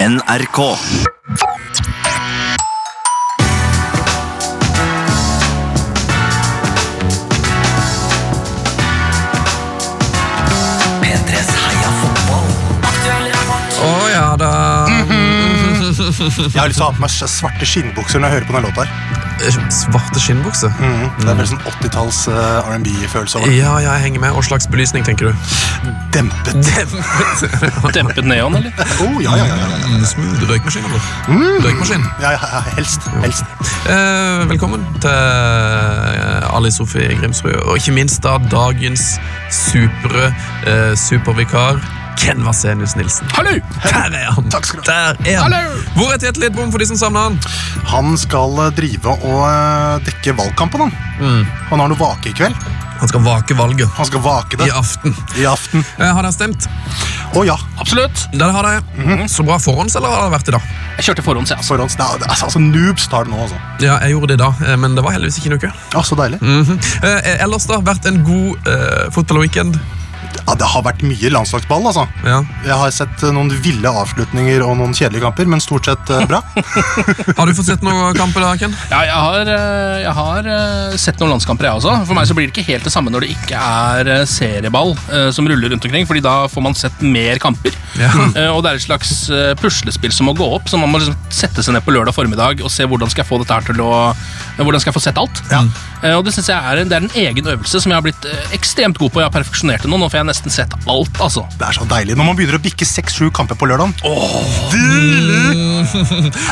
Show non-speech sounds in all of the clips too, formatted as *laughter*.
NRK. P3s heia fotball. Å ja da. Mhm. *laughs* Jeg har lyst til å ha på meg svarte skinnbukser når jeg hører på denne låta. her. Svarte skinnbukse. Mhm. Det er veldig sånn 80-talls eh, R&B-følelse over det. Ja, jeg henger med. Hva slags belysning tenker *laughs* du? Eh, Dempet. Dempet neon, eller? Oh, ja, ja, ja, ja, ja. Smooth røykmaskin. eller? Røykmaskin. Mm. ja, ja, ja helst. helst. Mm. Eh, velkommen til eh, Ali Sofie Grimsrud, og ikke minst da dagens supre eh, supervikar, Ken Vasenius Nilsen. Hallo! Der er han! Takk skal du Der er han. Hallo! Hvor er Tete Lidbom for de som savner han? Han skal eh, drive og eh, dekke valgkampen, han. Han har noe vake i kveld. Han skal vake valget Han skal vake det i aften. i aften. Eh, har dere stemt? Å ja. Absolutt. Der har dere. Mhm. Så bra forhånds, eller har det vært i dag? Jeg kjørte forhånds, jeg. Altså. Forhånds... Det er, det er, altså, noobs tar det nå, altså. Ja, jeg gjorde det i dag, eh, men det var heldigvis ikke noe. Ja, så deilig. Mhm. Eh, ellers da, vært en god eh, fotballweekend. Ja, det har vært mye landslagsball, altså. Ja. Jeg har sett eh, noen ville avslutninger og noen kjedelige kamper, men stort sett eh, *laughs* bra. Har du fått sett noen kamper da, Ken? Ja, jeg har, eh, jeg har eh, sett noen landskamper, jeg også. For meg så blir det ikke helt det samme når det ikke er eh, serieball eh, som ruller rundt omkring, fordi da får man sett mer kamper. Ja. *laughs* Eh, Og det er et slags eh, puslespill som må gå opp, så man må liksom sette seg ned på lørdag formiddag og se hvordan skal jeg få dette her til å eh, Hvordan skal jeg få sett alt? Mm. Eh, Og det synes jeg er en, det er en egen øvelse som jeg har blitt eh, ekstremt god på. Jeg har perfeksjonert det nå, nå får jeg nesten sett alt, altså. Det er så deilig når man begynner å bikke seks-sju kamper på lørdag.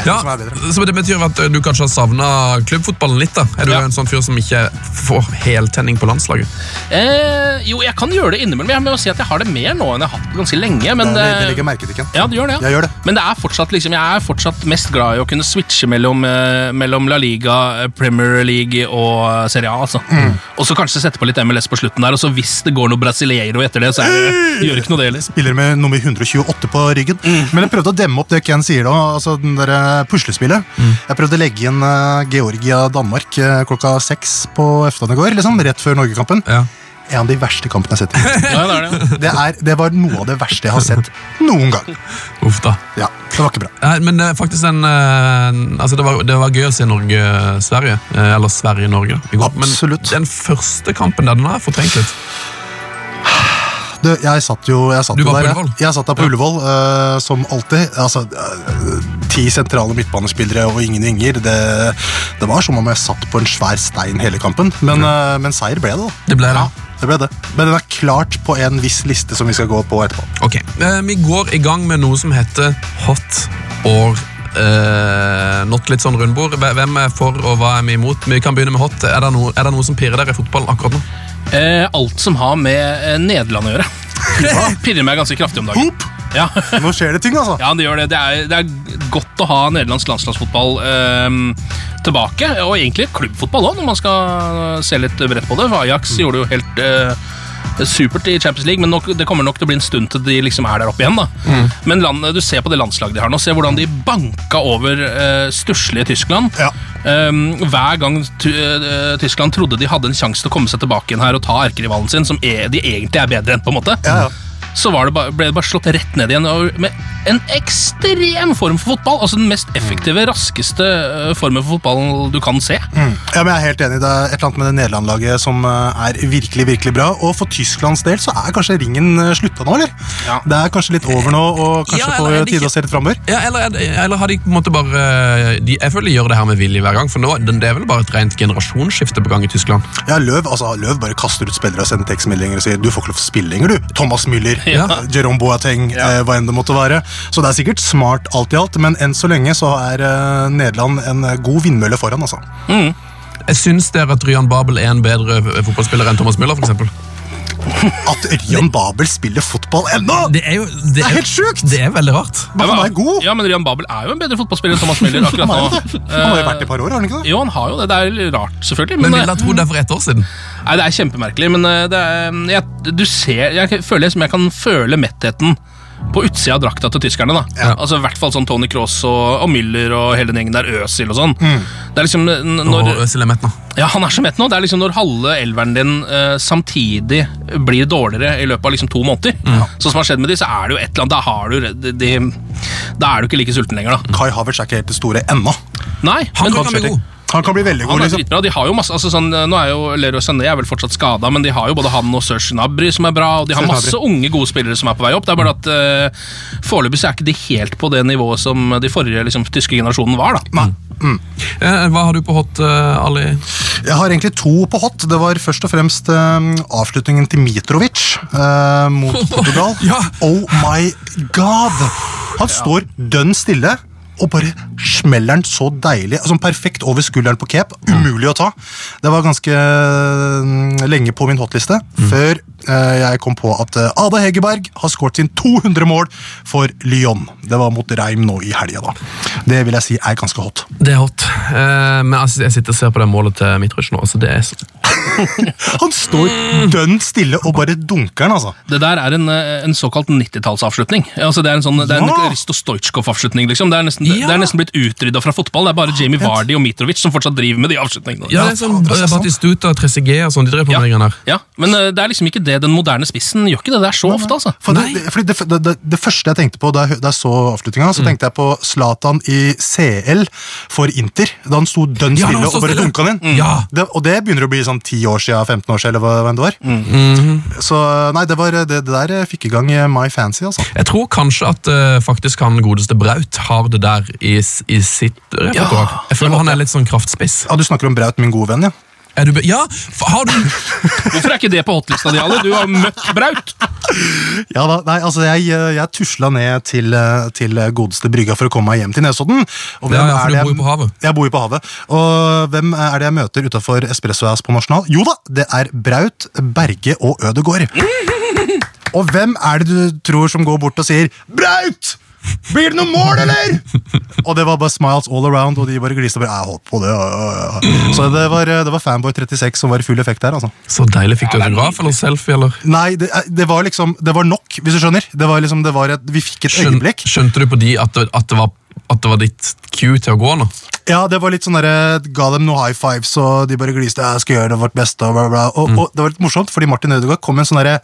Ja, som er bedre. så det betyr at eh, du kanskje har savna klubbfotballen litt? da Er du Ja. en sånn fyr som ikke får heltenning på landslaget? Eh, jo, jeg kan gjøre det innimellom. Jeg må jo si at jeg har det mer nå enn jeg har hatt det ganske lenge. Men, det, eh, det legger jeg merke til, Ken. ja, det gjør det, ja. Jeg gjør det. Men det er fortsatt, liksom, jeg er fortsatt mest glad i å kunne switche mellom, eh, mellom La Liga, eh, Premier League og eh, Serie A. Altså. Mm. Og så kanskje sette på litt MLS på slutten der, og så hvis det går noe brasileiro etter det, så er det, gjør ikke noe det liksom. heller. Spiller med nummer 128 på ryggen. Men jeg prøvde å demme opp det Ken sier, da, altså den der eh, puslespillet. Jeg prøvde å legge inn eh, Georgia-Danmark eh, klokka seks på eftermiddagen i går, liksom, rett før Norgekampen. Ja. En av de verste kampene jeg har *laughs* sett. Ja, det er det. Det, er, det var noe av det verste jeg har sett noen gang. Uff da. Ja, Det var ikke bra. Nei, men eh, faktisk en eh, Altså, det var, det var gøy å se Norge-Sverige. eh, Eller Sverige-Norge, da. i går. Absolutt. Men den første kampen der, den har jeg fortrengt litt. Du, jeg satt jo, jeg satt Du jo var på der. ja. Ullevål? Jeg satt der på Ullevål, eh, som alltid. Altså, eh, ti sentrale midtbanespillere og ingen vinger. Det, det var som om jeg satt på en svær stein hele kampen. Men, eh, men seier ble det, da. Det ble det. Ja, det ble det. Men den er klart på en viss liste som vi skal gå på etterpå. Ok, eh, vi går i gang med noe som heter hot or eh, not litt sånn rundbord. Hve- Hvem er for og hva er vi imot? Vi kan begynne med hot. Er det noe, er det noe som pirrer dere i fotball akkurat nå? *laughs* Eh, alt som har med eh, Nederland å gjøre. *laughs* Pirrer meg ganske kraftig om dagen. Hop! Ja. Nå skjer det ting, altså! Ja, det gjør det. Det er, det er godt å ha nederlandsk landslagsfotball ehm, tilbake. Og egentlig klubbfotball òg, når man skal eh, se litt bredt på det. For Ajax Mm. gjorde det jo helt eh, supert i Champions League, men nok, det kommer nok til å bli en stund til de liksom er der oppe igjen. da. Mm. Men land, du ser på det landslaget de har nå. Se hvordan de banka over uh, stusslige Tyskland. Ja. Ehm, hver gang ty- eh, Tyskland trodde de hadde en sjanse til å komme seg tilbake igjen her og ta erkerivalen sin, som er, de egentlig er bedre enn, på en måte Ja, ja. så var det bare, ble det bare slått rett ned igjen og med en ekstrem form for fotball. Altså den mest effektive, raskeste eh, formen for fotball du kan se. Mm. Ja, men jeg er helt enig. Det er et eller annet med det Nederland-laget som eh, er virkelig virkelig bra. Og for Tysklands del så er kanskje ringen eh, slutta nå, eller? Ja. Det er kanskje litt over nå, og kanskje Ja, på eller er det tide ikke- å se litt framover. Ja, eller, er det- eller har de på en måte bare eh, de, Jeg føler de gjør det her med vilje hver gang. For nå, den- det er vel bare et rent generasjonsskifte på gang i Tyskland. Ja, Løv altså, Løv bare kaster ut spillere og sender tekstmeldinger og sier du får ikke lov til å spille lenger, du. Thomas Müller, Ja. eh, Jerome Boateng, eh, hva enn det måtte være. Så det er sikkert smart alt i alt, men enn så lenge så er eh, Nederland en eh, god vindmølle foran, altså. Jeg Syns dere at Ryan Babel er en bedre f- fotballspiller enn Thomas Müller, for eksempel? At Ørjan Babel spiller fotball ennå! Det er jo det er helt sjukt! Det er veldig rart. Men han er god! Ja, men Rian Babel er jo en bedre fotballspiller enn *laughs* Thomas Müller akkurat Han nå. er jo det. Han har jo vært i et par år, har han ikke det? Jo, han har jo det. Det er jo rart, selvfølgelig. Men Men, ville eh, jeg trodd det for ett år nei, siden. mm, liksom det er kjempemerkelig. Men eh, det er, jeg, du ser Jeg føler som jeg kan føle mettheten på utsida av drakta til tyskerne. da Ja. Altså i hvert fall sånn Tony Cross og, og Müller og hele den gjengen der, Øsil og sånn. Mm. Det er liksom n- når, Og Øsil er mett nå. ja, han er så mett nå. Det er liksom når halve elveren din eh, samtidig blir dårligere i løpet av liksom to måneder. Så som har skjedd med de, så er det jo et eller annet Da, har du, de, de, da er du ikke like sulten lenger, da. Kai Havertz er ikke helt det store ennå. Nei, Han kan bli han, god. Han kan bli veldig god. er liksom. dritbra. De har jo masse, altså sånn, eh, nå er jo Leroy Sané er vel fortsatt skada, men de har jo både han og Serge Nabry som er bra, og de har Serge masse unge, gode spillere som er på vei opp. Det er bare at eh, foreløpig så er ikke de helt på det nivået som de forrige liksom, tyske generasjonen var. da Nei. Eh, Hva har du på hot, eh, Ali? Jeg har egentlig to på hot. Det var først og fremst eh, avslutningen til Mitrovic eh, mot Portugal. Ja. Oh my god! Han står dønn stille. Og bare smeller den så deilig. Altså, perfekt over skulderen på cape. Umulig å ta. Det var ganske eh, lenge på min hotliste før eh, jeg kom på at eh, Ada Hegerberg har skåret sin 200 mål for Lyon. Det var mot Reim nå i helga, da. Det vil jeg si er ganske hot. Det er hot. Eh, men altså, jeg sitter og ser på det målet til Mitrovic nå. Altså, det er så Han står dønn stille og bare dunker den, altså. Det der er en, eh, en såkalt 90-tallsavslutning. Altså, det er en sånn, det er en Ja! Risto Stoitsjkov-avslutning. Liksom. Det, er nesten- Ja! det er nesten blitt utrydda fra fotball. Det er bare Jamie Vardy og Mitrovic som fortsatt driver med de avslutningene. Ja, det er sånn faen, det er eh, sant. Batistuta, Trezeguet og sånn. De drev på Ja. med de greiene der. Ja, Men eh, det er liksom ikke det den moderne spissen gjør. ikke det der så ofte, altså. For det, det, fordi det, det, det, det første jeg tenkte på da jeg, hø- da jeg så avslutninga, Mm. så tenkte jeg på Zlatan i CL for Inter. Da han sto dønn Ja, stille han sto og bare stille. Mm. dunka den inn. Ja. Det, og det begynner å bli sånn 10 år siden, 15 år siden, eller hva hva enn det var. Mm. Så nei, det, var, det, det der fikk i gang eh, My Fancy, altså. Jeg tror kanskje at eh, faktisk han godeste Braut har det der i, s- i sitt repertoar. jeg føler han er litt sånn kraftspiss. Ja, Du snakker om Braut, min gode venn, ja. Er du be ja, f- har du *laughs* Hvorfor er ikke det på hotlista di, Ali? Du har møtt Braut! Ja da, nei, altså Jeg, eh, jeg tusla ned til, eh, til godeste brygga for å komme meg hjem til Nesodden. Og Ja, ja, for er du det bor jo på havet. Jeg bor jo på havet. Og hvem er det jeg møter utafor Espressoas på Nasjonal? Jo da, det er Braut, Berge og Ødegård. Og hvem er det du tror som går bort og sier 'Braut! Blir det noe mål, eller?' og det var bare smiles all around, og de bare gliste. og bare, Jeg holdt på det, ja, ja, ja. Så det var, eh, det var Fanboy 36 som var i full effekt der, altså. Så deilig. Fikk du autograf eller selfie? eller? Nei, det, det var liksom Det var nok, hvis du skjønner. Det var liksom, det var et, vi fikk et Skjøn- øyeblikk. skjønte du på de at det, at det var at det var ditt cue til å gå nå? Ja, det var litt sånn derre Ga dem noe high fives, og de bare gliste. Jeg skal gjøre det vårt beste, og bla, bla. Og, og det var litt morsomt, fordi Martin Ødegaard kom med en sånn derre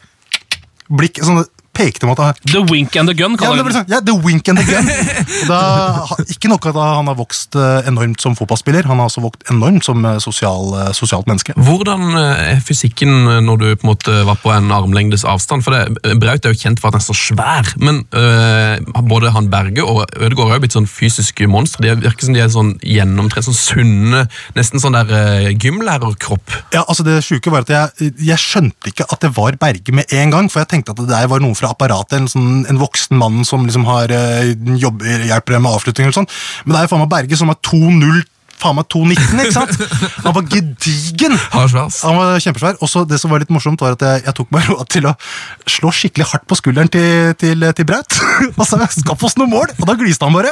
blikk sånn pekte mot han. The Wink and the Gun. Ja, men kaller det de ble det. sånn, ja, The wink and the gun. Og Da, ha- ikke nok at han har vokst eh, enormt som fotballspiller, han har også vokst enormt som eh, sosial, eh, sosialt menneske. Hvordan eh, er fysikken eh, når du på en måte var på en armlengdes avstand? For det, eh, Braut er jo kjent for at han er så svær, men eh, både han Berge og Ødegaard er jo blitt sånn fysiske monstre. De er- virker som de er sånn gjennomtrent, sånn sunne, nesten sånn der eh, gymlærerkropp. Ja, altså Det sjuke var at jeg, jeg skjønte ikke at det var Berge med en gang. For jeg tenkte at det der var noen fra apparatet, en, sånn, en voksen mann som liksom har eh, jobber, hjelper dem med avslutninger og sånn. Men det er jo faen meg Berge som er 2-0, faen meg 2-19, ikke sant? Han var gedigen! Har svers. Han var kjempesvær. Og så det som var litt morsomt, var at jeg, jeg tok meg råd til å slå skikkelig hardt på skulderen til, til, til Braut. *laughs* Og sa 'skaff oss noen mål', og da gliste han bare.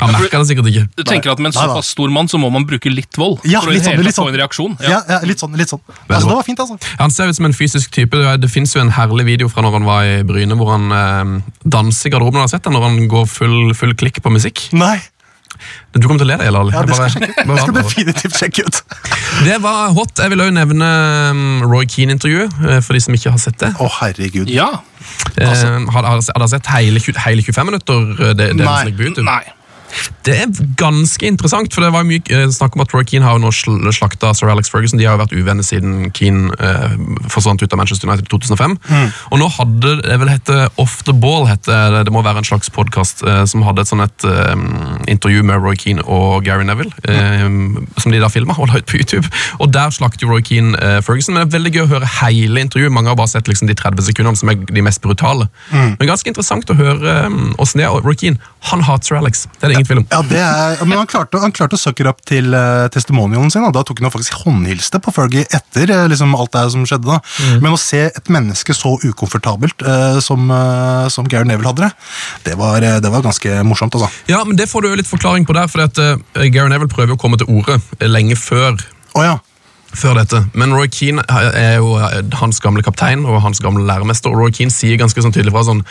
Han merker det sikkert ikke. Du tenker at med en Nei, nei. såpass stor mann, så må man bruke litt vold? Ja, for å i litt det sånn, hele litt tatt få sånn. en reaksjon. Ja, ja, litt sånn. litt sånn. Altså, bra. det var fint, altså. Han ser ut som en fysisk type. Det det finnes jo en herlig video fra når han var i Bryne, hvor han eh, danser i garderoben. Har du sett den, når han går full, full klikk på musikk. Nei. Du kommer til å le deg i hjel, Ali. Ja, Jeg det bare- skal jeg sjekke ut. bare Det skal advarer. definitivt sjekke ut. Det var hot. Jeg vil også nevne mm, Roy Keane-intervjuet, eh, for de som ikke har sett det. Å, herregud. Ja. Eh, har, har, har dere sett hele, tju- hele 25 minutter? eh, Det, det, Nei, som ligger på YouTube? Nei. det er ganske interessant, for det var jo mye eh, snakk om at Roy Keane har jo nå sl- slakta Sir Alex Ferguson. De har jo vært uvenner siden Keane eh, forsvant ut av Manchester United i 2005. Og nå hadde det vel hette Off the Ball, hette det, det må være en slags podkast, eh, som hadde et sånn et eh, intervju med Roy Keane og Gary Neville, eh, som de da filma og la ut på YouTube. Og der slakter jo Roy Keane eh, Ferguson, men det er veldig gøy å høre hele intervjuet. Mange har bare sett liksom, de 30 sekundene som er de mest brutale. Men ganske interessant å høre eh, åssen det er. Og Roy Keane, han hater Sir Alex, det er det ingen tvil om. Ja, det er, men han klarte, han klarte å sucker opp til uh, testimonialen sin. Da. da tok han jo faktisk håndhilste på Fergie etter eh, liksom, alt det her som skjedde. Da. Men å se et menneske så ukomfortabelt eh, som, uh, som Gary Neville hadde det, det var, eh, det var ganske morsomt. Altså. Ja, men Det får du jo litt forklaring på der, for at eh, Gary Neville prøver jo å komme til orde eh, lenge før, Å ja. før dette. Men Roy eh, Keane er jo eh, hans gamle kaptein og hans gamle læremester, og Roy Keane sier ganske sånn tydelig fra sånn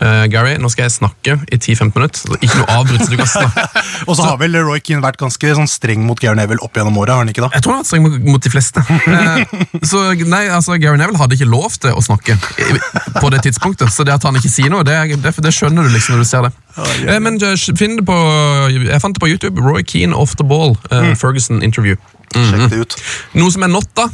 eh, Gary, nå skal jeg snakke i 10-15 minutter. Så ikke noe avbrytelse. Du kan snakke. Og så har vel Roy Keane vært ganske sånn streng mot Gary Neville opp gjennom året, har han ikke da? Jeg tror han har vært streng mot- mot de fleste. Eh, Så nei, altså, Gary Neville hadde ikke lov til å snakke i- på det tidspunktet. Så det at han ikke sier noe, det, er- det, det skjønner du liksom når du ser det. Eh, Men eh, finn det på, jeg fant det på YouTube. Roy Keane off the ball, eh, Ferguson interview. Sjekk det ut. Noe som er not, da.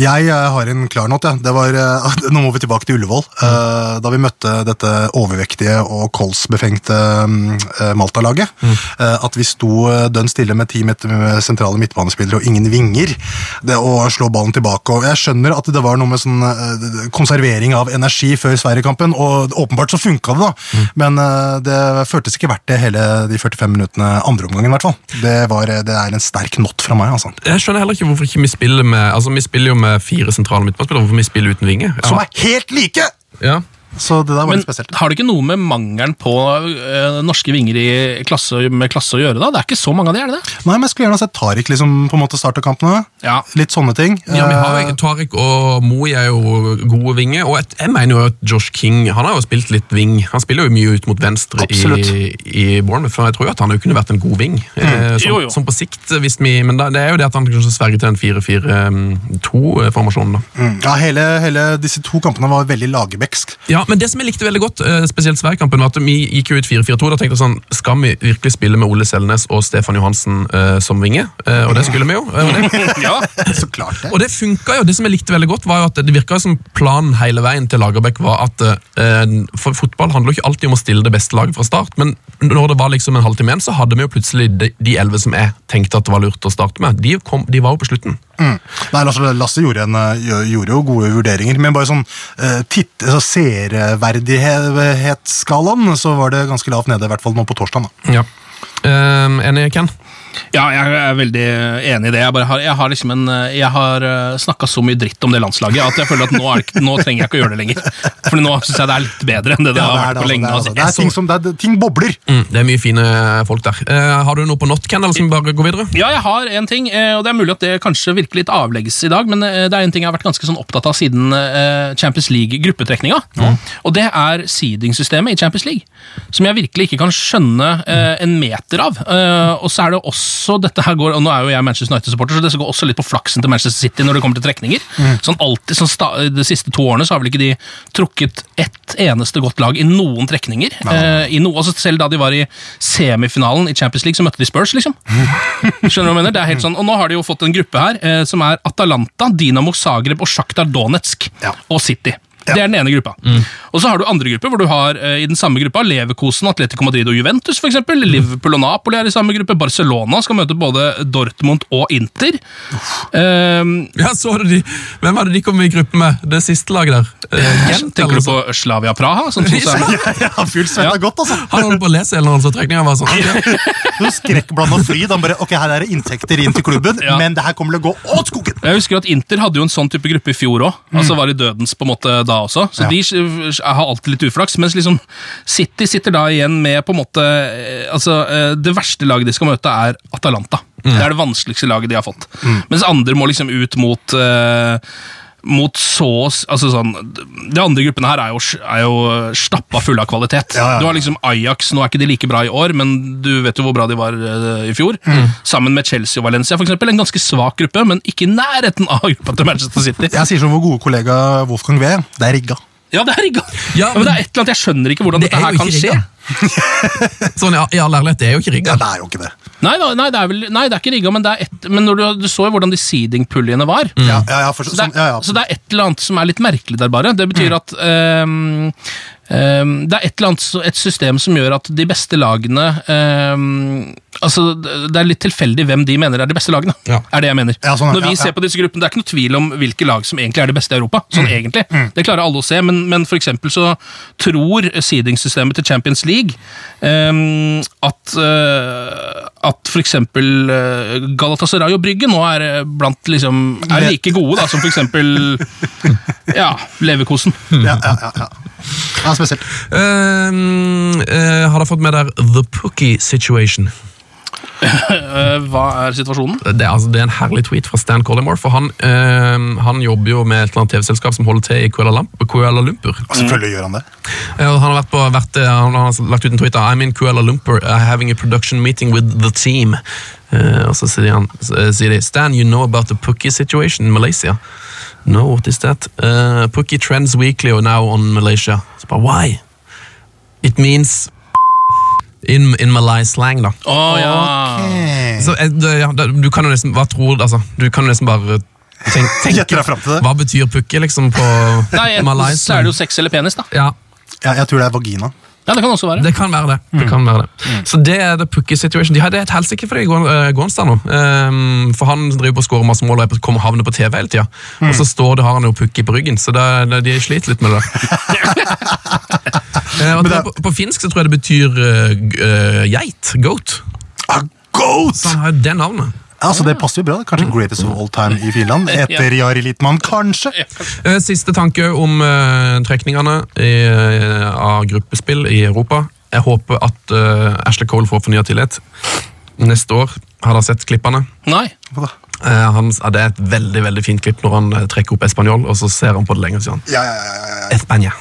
Jeg eh, har en klar not. Ja. Det var, eh, *laughs* nå må vi tilbake til Ullevål. Eh, da vi møtte dette overvektige og kolsbefengte mm, eh, Malta-laget. eh, at vi sto eh, dønn stille med ti midt, med sentrale midtbanespillere og ingen vinger. Det å slå ballen tilbake. Og jeg skjønner at det var noe med sånn eh, konservering av energi før Sverige-kampen, og åpenbart så funka det, da. Men eh, det føltes ikke verdt det hele de 45 minuttene andre omgangen, i hvert fall. Det, var, eh, det er en sterk not fra meg, altså. Jeg skjønner heller ikke hvorfor ikke vi spiller med altså vi spiller jo med fire sentrale midtbanespillere. Hvorfor vi spiller uten vinge? Som er helt like! Ja. Så det der var Men litt spesielt. har det ikke noe med mangelen på eh, norske vinger i klasse, med klasse å gjøre, da? Det er ikke så mange av de, er det det? Nei, men jeg skulle gjerne ha sett Tariq liksom, på en måte starte kampene. Ja. Litt sånne ting. Eh, Ja, vi har jo Tariq og Moi er jo gode vinger, og et- jeg mener jo at Josh King han har jo spilt litt ving. Han spiller jo mye ut mot venstre i, Absolutt. i Bournemouth, for jeg tror jo at han jo kunne vært en god ving. eh, Som, Jo, jo. som på sikt, hvis vi, men da, det er jo det at han kanskje sverger til en eh, 4-4-2-formasjon. da. Mm. ja hele, hele disse to kampene var veldig lagerbäcksk. Ja, men det som jeg likte veldig godt, eh, spesielt Sverigkampen, var at vi gikk jo ut 4-4-2. Da tenkte jeg sånn, skal vi virkelig spille med Ole Selnes og Stefan Johansen eh, som vinge? Eh, og det skulle vi jo. eh, og det- *laughs* ja. *laughs* Så klart det. Og det funka jo. Det som jeg likte veldig godt, var jo at det virka som planen hele veien til Lagerbäck var at eh, For fotball handler jo ikke alltid om å stille det beste laget fra start, men når det var liksom en halvtime igjen, så hadde vi jo plutselig de, de elleve som jeg tenkte at det var lurt å starte med. De, kom, de var jo på slutten. Mm. Nei, Lasse, Lasse gjorde, en, eh, gjø- gjorde jo gode vurderinger, men bare sånn eh, titt, altså, seerverdighetsskalaen så var det ganske lavt nede, i hvert fall nå på torsdag. Da. Ja. Ehm, enig, Ken? ja, jeg er veldig enig i det. Jeg, bare har, jeg har, liksom en, eh, jeg har snakka så mye dritt om det landslaget at jeg føler at nå, er det, ikke- nå trenger jeg ikke å gjøre det lenger. For nå syns jeg det er litt bedre enn det det Ja, har det, er, vært på det, altså, det, lenge. er, altså. altså, det Jeg er ting som det er, ting *laughs* bobler. Mm, det er mye fine folk der. Eh, har du noe på not, Ken, eller skal vi bare gå videre? Ja, jeg har en ting, eh, og det er mulig at det kanskje virker litt avlegges i dag, men eh, det er en ting jeg har vært ganske sånn opptatt av siden eh, Champions League-gruppetrekninga. Og det er seedingsystemet i Champions League, som jeg virkelig ikke kan skjønne eh, en meter av. Eh, Og så er det også dette her går, og nå er jo jeg Manchester United-supporter, så det går også litt på flaksen til Manchester City når det kommer til trekninger. Sånn alltid, sånn sta, De siste to årene så har vel ikke de trukket ett eneste godt lag i noen trekninger. Eh, I noe, altså selv da de var i semifinalen i Champions League, så møtte de Spurs, liksom. Skjønner du hva jeg mener? Det er helt sånn, og Nå har de jo fått en gruppe her eh, som er Atalanta, Dinamo Zagreb og Shakhtar Donetsk Ja. og City. Det er den ene gruppa. Og Så har du andre grupper, hvor du har eh, i den samme gruppa Leverkosen, Atletico Madrid og Juventus. For eksempel. Liverpool og Napoli er i samme gruppe. Barcelona skal møte både Dortmund og Inter. Um, Ja, så du de. Hvem var det de kom i gruppe med? Det siste laget der? Eh, Gent, tenker eller du på Slavia Praha? Som to *laughs* Ja. seg- Jeg har fylt svetta godt, altså. Han holdt på å lese en eller annen sånn trekning. Han var sånn, ok. Noe skrekkblanda fryd. Han bare, ok, Her er det inntekter inn til klubben, Ja. men det her kommer til å gå åt skogen! Jeg husker at Inter hadde jo en sånn type gruppe i fjor òg. Altså var i dødens på en måte da også. Så Mm. Ja. de s- har alltid litt uflaks. Mens liksom City sitter da igjen med på en måte eh, Altså eh, Det verste laget de skal møte, er Atalanta. Mm. Det er det vanskeligste laget de har fått. Mens andre må liksom ut mot eh, mot så altså sånn, De andre gruppene her er jo, er jo stappa fulle av kvalitet. Ja, ja, ja. Du har liksom Ajax, nå er ikke de like bra i år, men du vet jo hvor bra de var eh, i fjor. Mm. Sammen med Chelsea og Valencia, for eksempel. En ganske svak gruppe, men ikke i nærheten av gruppa til Manchester City. Jeg sier som vår gode kollega Wolfgang Wee, det er rigga. Ja, det er rigga! Ja, Ja, men, det er et eller annet, jeg skjønner ikke hvordan Det dette er her jo kan ikke skje. rigga. *laughs* Sånn, ja, I all ærlighet, det er jo ikke rigga. Ja, det er jo ikke det. Nei, da, nei, det er vel, nei, det er ikke rigga, men, det er et, men når du, du så jo hvordan de seeding-puljene var. Ja, ja, ja, for, Så det, sånn, er, ja, Mm. ja. så det er et eller annet som er litt merkelig der, bare. Det betyr at øhm, øhm, Det er et eller annet så- et system som gjør at de beste lagene øhm, Altså, Det er litt tilfeldig hvem de mener er de beste lagene. Ja. er det jeg mener. Ja, sånn er- Når ja, vi ja. ser på disse gruppene, Det er ikke noe tvil om hvilke lag som egentlig er de beste i Europa. sånn Mm. egentlig. Det klarer alle å se, men, men for eksempel så tror seedingssystemet til Champions League øhm, at øh, at f.eks. Galatasaray og Brygge nå er øh, blant liksom, er Vet- like like gode da, som for *laughs* eksempel ja, leverkosen. ja, ja, ja, ja. ja spesielt. Ehm, Eh, eh, har dere fått med der The Pookie Situation? Eh, Hva er situasjonen? det, er- altså, det er en herlig tweet fra Stan Collymore, for han, eh, han jobber jo med et eller annet TV-selskap som holder til i Kuala, Lamp Kuala Lumpur. Og selvfølgelig gjør han det. Eh, og Han har, vært på, vært, eh, han har lagt ut en tweet da, I'm in Kuala Lumpur, I'm having a production meeting with the team. Eh, og så sier, han, s- eh, sier de, Stan, you know about the Pookie situation in Malaysia? No, what is that? Uh, Pookie trends weekly or now on Malaysia. Så bare, why? It means in, in Malay slang da. Å ja! Ok. Så, eh, det, ja, det, du kan jo nesten, hva tror du, altså, du kan jo nesten bare tenk, tenke, Gjette deg frem til det. hva betyr pukki, liksom, på Nei, enten så er det jo sex eller penis, da. Ja, Ja, jeg tror det er vagina. Ja, det kan også være. det kan være det. Mm. det, kan være det. Så det er the pukki situation. De hadde et helsike for det i Gåen- eh, Gåenstad nå. Ehm, for han driver på å skåre masse mål og er på, kommer havner på TV hele tida. Og så står det, har han jo pukki på ryggen, så det, det, de sliter litt med *laughs* det. Eh, og Men det- på, på finsk så tror jeg det betyr eh, g- eh, geit. Goat. Ah, goat! Så han har jo det navnet. Altså, Det passer jo bra. Kanskje greatest of all time i *laughs* Finland. Etter Jari Litman, kanskje. Eh, Siste tanke om eh, trekningene i, eh, av gruppespill i Europa. Jeg håper at eh, Ashley Cole får fornya tillit. Neste år har dere sett klippene. Nei. Hva da? Eh, han, ja, det er et veldig veldig fint klipp når han eh, trekker opp espanjol, og så ser han på det lenge og sier han, Ja, ja, ja, ja, ja. Espanja.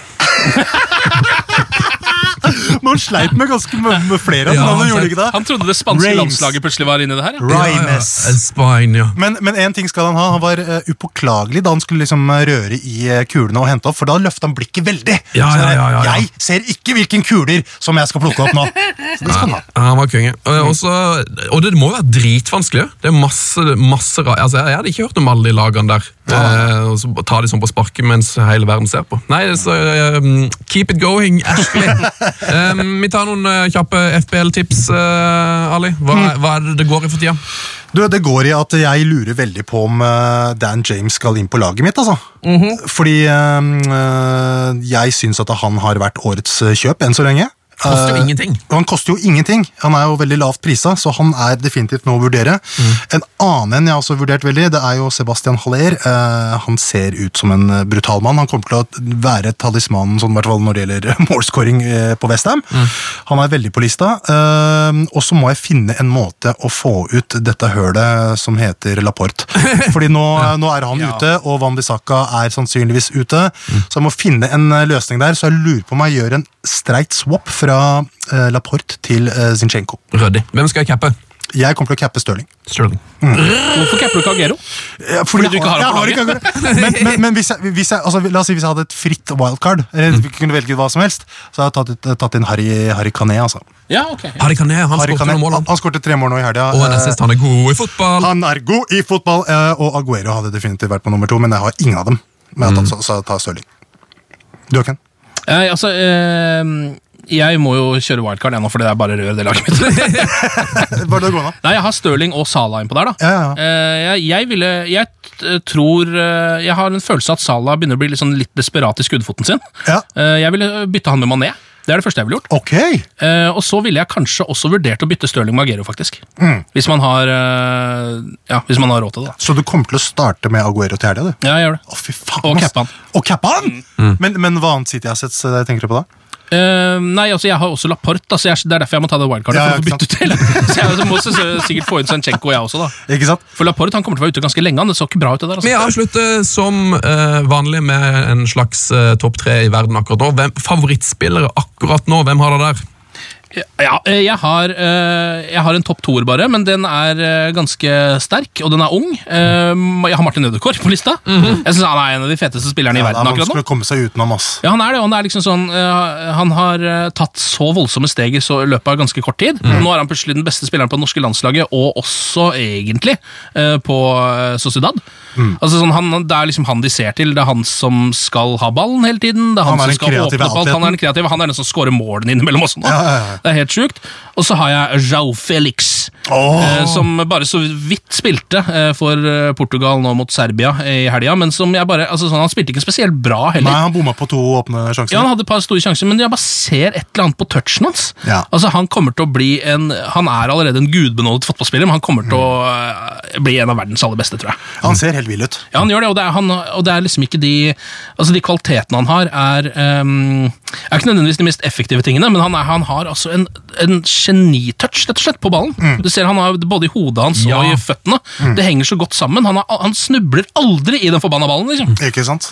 Man sleit med ganske m- med flere av Ja, dem, han han gjorde sleit- ikke det? Han trodde det spanske Reims. landslaget plutselig var inni det her. Ja. Rhymes. Ja, ja, Espanja. Men, men en ting skal han ha. Han var eh, upåklagelig da han skulle liksom eh, røre i eh, kulene og hente opp, for da løfta han blikket veldig. Ja, Så ja, han, ja, ja, ja. Jeg ser ikke hvilken kuler som jeg skal plukke opp *laughs* nå. Så det skal han ha. Ja, Han var konge. Eh, Og, så- og det må jo være dritvanskelig. Det er masse, masse ra- altså, Jeg hadde ikke hørt om alle de lagene der. Eh, og så ta de sånn på sparket mens hele verden ser på. Nei, så eh, mm, keep it going, *laughs* Ashley. Eh, vi tar noen eh, kjappe FBL-tips, eh, Ali. Hm. Hva, er- hva er det det går i for tida? Du, Det går i at jeg lurer veldig på om eh, Dan James skal inn på laget mitt. altså. Mhm. Fordi eh, jeg syns at han har vært årets eh, kjøp enn så lenge. Koster jo Eh, ingenting. og Han koster jo ingenting. Han er jo veldig lavt prisa, så han er definitivt noe å vurdere. Mm. En annen en jeg har også vurdert veldig, det er jo Sebastian Haller. Eh, han ser ut som en eh, brutal mann. Han kommer til å være talismanen sånn, i hvert fall når det gjelder *laughs* målscoring eh, på Westham. Mm. Han er veldig på lista. Eh, og så må jeg finne en måte å få ut dette hølet som heter Laporte. Fordi nå, nå er han ute, og Van Bissaka er sannsynligvis ute. Så jeg må finne en eh, løsning der, så jeg lurer på om jeg gjør en streit swap fra eh, Laporte til eh, Zinchenko. Røddig. Hvem skal jeg cappe? Jeg kommer til å cappe Stirling. Sterling. Hvorfor capper du ikke Agero? Ja, Fordi du ikke har ham på jeg har ikke akkurat- Men, men, men hvis jeg, hvis jeg, altså, la oss si hvis jeg hadde et fritt wildcard, eller vi kunne velge hva som helst, så hadde jeg tatt, ut- tatt inn Harry, Harry Kané. Altså. Ja, ok. Harry Kané, han Harry skåret Kané noen mål. han, han. han skårte tre mål nå i helga. Og en eh, assist, han er god i fotball. Han er god i fotball, eh, og Aguero hadde definitivt vært på nummer to, men jeg har ingen av dem. Men jeg har tatt, så, så jeg tar Stirling. Du, Ken? Eh, altså, eh, jeg må jo kjøre wildcard ennå, for det er bare rør det laget mitt. *laughs* Eh, Hva er det gående? Nei, jeg har Stirling og Salah innpå der, da. Ja, ja, ja. Eh, jeg, jeg ville Jeg t- tror eh, Jeg har en følelse at Salah begynner å bli litt, sånn litt desperat i skuddfoten sin. ja. Eh, jeg ville bytte han med Mané. Det er det første jeg ville gjort. Ok! Eh, og så ville jeg kanskje også vurdert å bytte Stirling med Agero, faktisk. Hvis man har eh, Ja, hvis man har råd til det, da. Så du kommer til å starte med Aguero til helga, du? Ja, jeg gjør det. Å, fy faen! Og ass. cappa han. Og cappa han! Men, men hva annet City Assets eh, tenker du på da? Eh, nei, altså jeg har også Laporte, da, så jeg, det er derfor jeg må ta det wildcardet. Ja, ja, for å få bytte ut hele. Så jeg må så, så, sikkert få inn Sanchenko, jeg også. da Ikke sant? For Laporte han kommer til å være ute ganske lenge. Han det så ikke bra ut det der Vi altså. avslutter som eh, vanlig med en slags eh, topp tre i verden akkurat nå. Hvem, favorittspillere akkurat nå, hvem har det der? ja, eh, jeg, har, eh, jeg har en topp toer, bare, men den er eh, ganske sterk, og den er ung. Eh, jeg har Martin Ødegaard på lista. Jeg synes Han er en av de feteste spillerne i Ja, det verden er akkurat nå. vanskelig å komme seg utenom, ass. Ja, han er det. og Han, er liksom sånn, eh, han har eh, tatt så voldsomme steg i så i løpet av ganske kort tid. Mm. Nå er han plutselig den beste spilleren på det norske landslaget, og også egentlig eh, på eh, Sociedad. Mm. Altså, sånn, han, det er liksom han de ser til. Det er han som skal ha ballen hele tiden. Det er han, Han er den som skal kreative åpne opp alt. Han er den kreative, han er den som scorer målene innimellom også. Nå. Ja, ja, ja. Det er helt sjukt. Og så har jeg Jao Felix. Åh. eh, Som bare så vidt spilte eh, for eh, Portugal nå mot Serbia i helga, men som jeg bare altså, sånn, Han spilte ikke spesielt bra heller. Nei, han bomma på to åpne sjanser. Ja, han hadde et par store sjanser, men jeg bare ser et eller annet på touchen hans. Ja. Altså, Han kommer til å bli en, han er allerede en gudbenådet fotballspiller, men han kommer til å eh, bli en av verdens aller beste, tror jeg. Han ser helt vill ut. Ja, han gjør det, og det er, han, og det er liksom ikke de Altså, de kvalitetene han har, er, ehm, er ikke nødvendigvis de mest effektive tingene, men han, er, han har altså en, en genitouch, rett og slett, på ballen. Du ser han har Både i hodet hans Ja. og i føttene. Det henger så godt sammen. Han, har, han snubler aldri i den forbanna ballen. liksom. Ikke sant?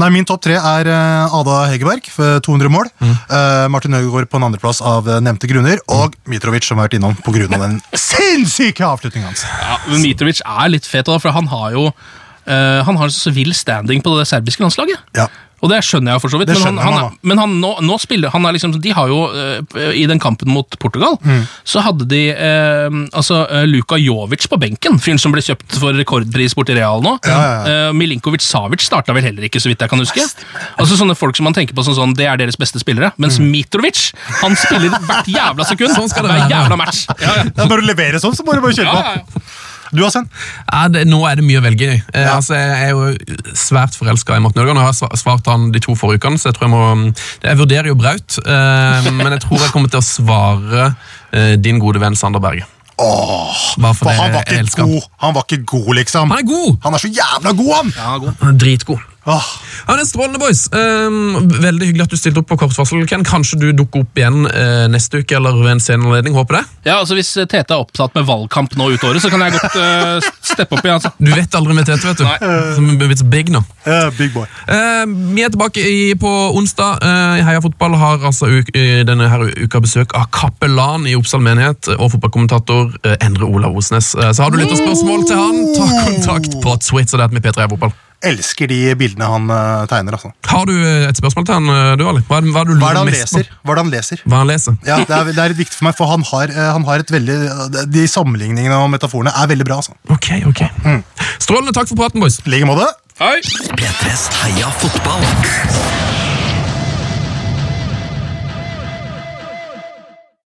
Nei, Min topp tre er eh, Ada Hegerberg, for 200 mål. Mm. eh, Martin Ødegaard på en andreplass av eh, nevnte grunner. Og Mitrovic, som har vært innom pga. den *laughs* sinnssyke avslutningen hans. Ja, men Mitrovic er litt fet, da, for han har jo eh, han har så vill standing på det serbiske landslaget. Ja. Og det skjønner jeg for så vidt, Det men, han, skjønner man han, men han, nå, nå spiller han er liksom, De har jo eh, I den kampen mot Portugal så hadde de eh, altså, eh, Luka Jovic på benken, fyren som ble kjøpt for rekordpris borti Real nå. Ja, ja, Eh, Milinkovic Savic starta vel heller ikke, så vidt jeg kan huske. Altså Sånne folk som man tenker på som sånn, det er deres beste spillere, mens Mitrovic han spiller hvert jævla sekund. Sånn skal det hver være. jævla match. Ja, ja. Ja, Når du leverer sånn, så må du bare Ja, kjøre på. ja, ja. Du, Asen? Ja, det, nå er det mye å velge i. Eh, altså, jeg er jo svært forelska i Morten Ødegaard. Nå har jeg sva- svart han de to forrige ukene, så jeg tror jeg må Jeg vurderer jo Braut, eh, men jeg tror jeg kommer til å svare eh, din gode venn Sander Berge. Åh, Bare fordi for han var jeg elsker ikke han. god, han var ikke god liksom. Han er god! Han er så jævla god, han! Ja, god. Han er dritgod. Åh, Ja, det er Strålende, boys. Um, veldig hyggelig at du stilte opp på kort varsel, Ken. Kanskje du dukker opp igjen eh, neste uke eller ved en sen anledning. Håper det. Ja, altså Hvis eh, Tete er opptatt med valgkamp nå ut året, så kan jeg godt eh, s- steppe opp igjen. altså. Du vet aldri med Tete, vet du. Nei. Som er blitt så big nå. eh, big boy. Eh, vi er tilbake i, på onsdag. Eh, Heia Fotball har altså u i denne her u- uka besøk av kapellan i Oppsal menighet eh, og fotballkommentator eh, Endre Olav Osnes. Eh, så har du lytterspørsmål til han, ta kontakt på Twitter. Det er med P3 Fotball. Elsker de bildene han eh, tegner, altså. Har du eh, et spørsmål til han, eh, du, Ali? Hva, er det- hva, er det du Hva lurer er det han mest på? leser? Hva er det han leser? Hva han leser? Ja, det er, det er litt viktig for meg, for han har, eh, han har et veldig De sammenligningene og metaforene er veldig bra, altså. Ok, ok. Mm. Strålende. Takk for praten, boys. I like måte. Hei! P3s Heia fotball